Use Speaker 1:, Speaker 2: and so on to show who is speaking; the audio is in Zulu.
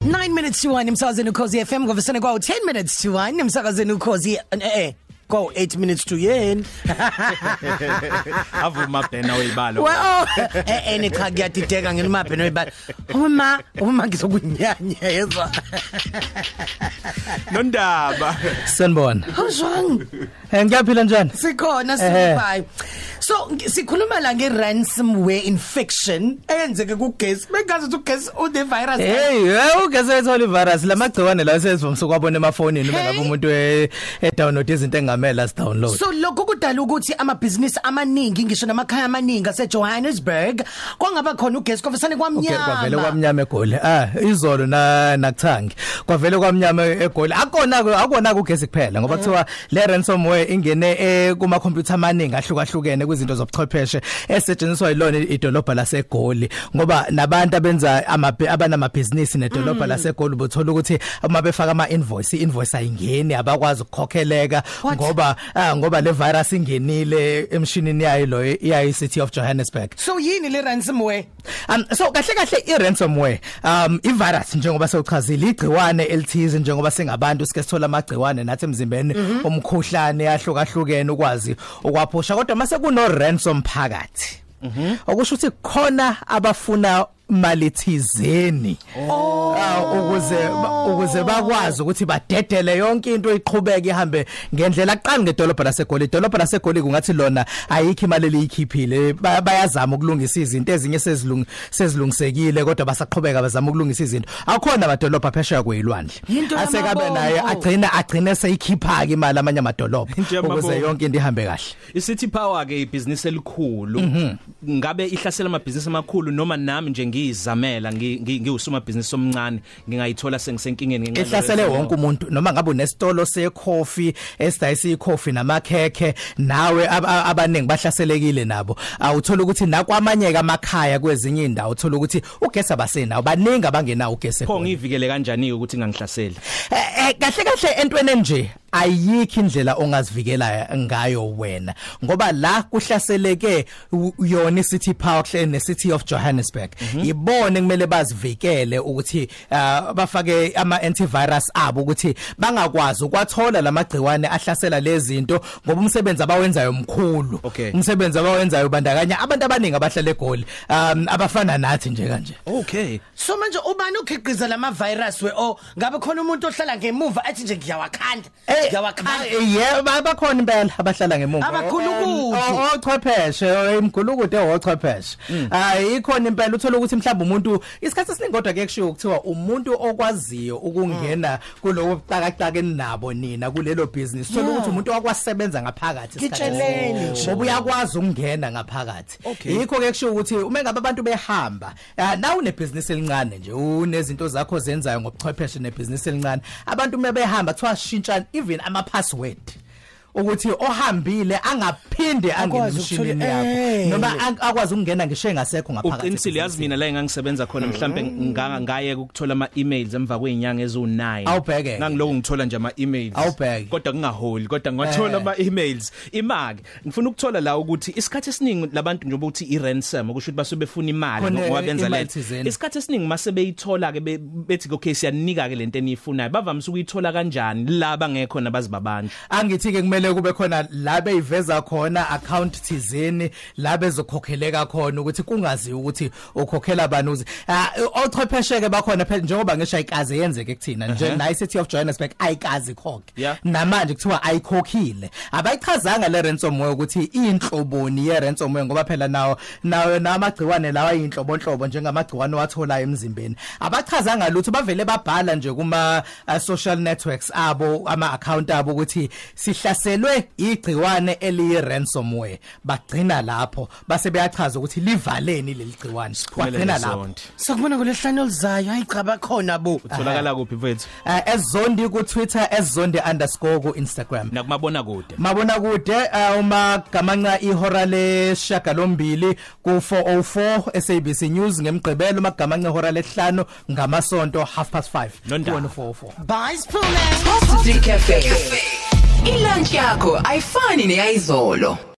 Speaker 1: 9 minutes to 1 emsakazeni ukhosi FM ngovisene kwawo 10 minutes to 1 emsakazeni ukhosi eh eh kwawo 8 minutes to yini
Speaker 2: avuma bhena oyibalo
Speaker 1: well eh eh nikha ngiyadideka nginimaphe noyibala uma uma ngizokunyanya yezwa
Speaker 2: nondaba
Speaker 3: Sanibona.
Speaker 1: awuzwang
Speaker 3: Eh ngiyaphila njani?
Speaker 1: sikhona
Speaker 3: Ehhe.
Speaker 1: sify so ngi- sikhuluma la nge ransomware infection eyenzeke kugesi bengazi ukuthi ugesi une virus
Speaker 3: Hey, eh ugeze ethola ivirus lamagciwane la sesivamise kwabona emafonini uma
Speaker 1: Hey.
Speaker 3: ngabe umuntu e- edownload izinto engamela sidownload.
Speaker 1: So lokho kudala ukuthi amabhizinisi amaningi ngisho namakhaya amaningi aseJohannesburg kwangaba khona ugesi kofisane
Speaker 3: Okay,
Speaker 1: kwamnyama
Speaker 3: kwavele kwamnyama egoli. Ah, izolo na nakuthangi. Kwavele kwamnyama egoli. Akona ke akona kugezi kuphela ngoba kuthiwa le ransomware ingene eh, kuma computer amaningi ahlukahlukene kwizinto zobuchwepheshe esetshenziswa yilona idolobha lasegoli ngoba nabantu abenza ama abanamabhizinisi nedolobha lasegoli bothola ukuthi uma befaka ama invoice, invoice ayingeni abakwazi ukukhokheleka
Speaker 1: What?
Speaker 3: ngoba ah, ngoba le virus ingenile emshinini yayo lo yayo city of Johannesburg.
Speaker 1: So yini le ransomware?
Speaker 3: Um so kahle kahle i ransomware um i virus njengoba sewuchazile igciwane elithize njengoba singabantu sike sithola amagciwane nathi emzimbeni umkhuhlane yahlukahlukene ukwazi ukwaphusha kodwa mase kuno ransom phakathi okusho ukuthi khona abafuna imali thizeni Ah, ukuze ba- ukuze bakwazi ukuthi badedele yonke into iqhubeke ihambe ngendlela aqali ngedolobha lasegoli idolobha lasegoli kungathi lona ayikho imali eliyikhiphile Ba- bayazama ukulungisa izinto ezinye sezilung sezilungisekile kodwa basaqhubeka bazama ukulungisa izinto akhona amadolobha phesheya kweyilwandle
Speaker 1: Yinto
Speaker 3: asekabe
Speaker 1: yamabombo.
Speaker 3: naye agcina agcine seyikhipha ke imali amanye amadolobha
Speaker 2: Into yamabombo.
Speaker 3: ukuze yonke into ihambe kahle
Speaker 2: isithi power ke ibhizinisi elikhulu ngabe ihlasela amabhizinisi amakhulu noma nami nje ngiyizamela ngi- ngi- ngiwusuma bhizinisi omncane ngingayithola sengisenkingeni ngenxa yalesi
Speaker 3: ehlasele
Speaker 2: simo.
Speaker 3: wonke umuntu noma ngabe unesitolo secoffee esidayisa icoffee namakhekhe nawe ab- ab- abaningi bahlaselekile nabo awuthola ukuthi nakwamanyeka amakhaya kwezinye indawo uthola ukuthi ugesa basenawo baningi abangenawo ugesa
Speaker 2: pho ngivikele kanjani ukuthi ngangihlasele
Speaker 3: Eh, eh, kahle kahle entweni enje ayikho indlela ongazivikela ngayo wena ngoba la kuhlaseleke u- yona i-city power kuhle ne-city of johannesburg yibone kumele bazivikele ukuthi ah, bafake ama-antivirus abo ukuthi bangakwazi ukwathola la magciwane ahlasela lezi zinto ngoba umsebenzi abawenzayo mkhulu
Speaker 2: Okay.
Speaker 3: umsebenzi abawenzayo ubandakanya abantu abaningi abahlala egoli um, abafana nathi nje kanje
Speaker 2: okay
Speaker 1: So manje ubani okhiqiza lama virus we o ngabe khona umuntu ohlala ngemuva athi nje ngiyawakhanda
Speaker 3: Eh,
Speaker 1: ngiyawakhanda
Speaker 3: yeah bakhona impela abahlala ngemuva Eh,
Speaker 1: Abagulukudu.
Speaker 3: O- ochwepheshe imgulukude ochwepheshe ayikhona impela uthola ukuthi mhlawumbe umuntu isikhathi siningodwa ke kushiwo ukuthiwa umuntu okwaziyo ukungena kulowo buqakaqaka enabo nina kulelo business uthola
Speaker 1: Yeah.
Speaker 3: ukuthi umuntu wakwasebenza ngaphakathi isikhathi
Speaker 1: Ngitsheleni
Speaker 3: esiningi.
Speaker 1: nje.
Speaker 3: ngoba uyakwazi ukungena ngaphakathi
Speaker 2: Okay.
Speaker 3: yikho ke kushiwo ukuthi uma ngabe abantu behamba ah, na unebhizinisi elincane nje unezinto zakho zenzayo ngobuchwepheshe nebhizinisi elincane abantu uma behamba kuthiwa shintsha even ama-password ukuthi ohambile angaphinde angene
Speaker 1: Akwazi ukuthola-
Speaker 3: emshinini yakho
Speaker 1: Eh.
Speaker 3: noma ang- akwazi ukungena ngisho engasekho ngaphakathi
Speaker 2: uqinisile yazi mina la engangisebenza khona
Speaker 3: Mhm.
Speaker 2: mhlambe ngaye ukuthola ama emails emva kweenyanga ezo9
Speaker 3: Awubheke.
Speaker 2: ngangiloku ngithola nje ama emails
Speaker 3: Awubheke. Eh.
Speaker 2: kodwa kungaholi kodwa ngathola ama emails imaki ngifuna ukuthola la ukuthi isikhathi esiningi labantu njengoba uthi i ransom ukusho ukuthi base befuna imali
Speaker 3: Khona
Speaker 2: ngoba benza le
Speaker 3: imali thizeni.
Speaker 2: isikhathi esiningi mase beyithola ke be- bethi ke, okay siyanika ke lento eniyifunayo bavamise ukuyithola kanjani laba ngekho nabazibabantu
Speaker 3: angithi ke kumele kube khona la beyiveza khona account thizeni la bezokhokheleka khona ukuthi kungaziwa ukuthi ukhokhela bani uze ochwepheshe ke bakhona phela njengoba ngisho ayikaze yenzeke kuthina nje na city of Johannesburg ayikazi
Speaker 2: Yeah.
Speaker 3: khokhe namanje kuthiwa ayikhokhile abayichazanga le ransomware ukuthi inhloboni ye ransomware ngoba phela nawo nawo namagciwane lawa inhlobo inhlobo njengamagciwane watholayo emzimbeni abachazanga lutho bavele babhala nje kuma uh, social networks abo ama account abo ukuthi sihlaselwe igciwane eliyi ransomware bagcina lapho base beyachaza ukuthi livaleni leli gciwane bagcina lapho
Speaker 1: Sokubona ngolehlanu olizayo ayiqhaba khona bo
Speaker 2: utholakala kuphi mfethu
Speaker 3: uh, ezondi ku Twitter ezondi_ku Instagram
Speaker 2: nakumabona kude
Speaker 3: mabona kude uh, uma gamanca ihora oh leshagalombili ku404 SABC News ngemgqibelo uma gamanca ihora lesihlanu ngamasonto half past 5
Speaker 2: Nondaba.
Speaker 3: ku
Speaker 1: Bye Spooner
Speaker 4: Coffee Cafe. Ilunch yakho ayifani neyizolo.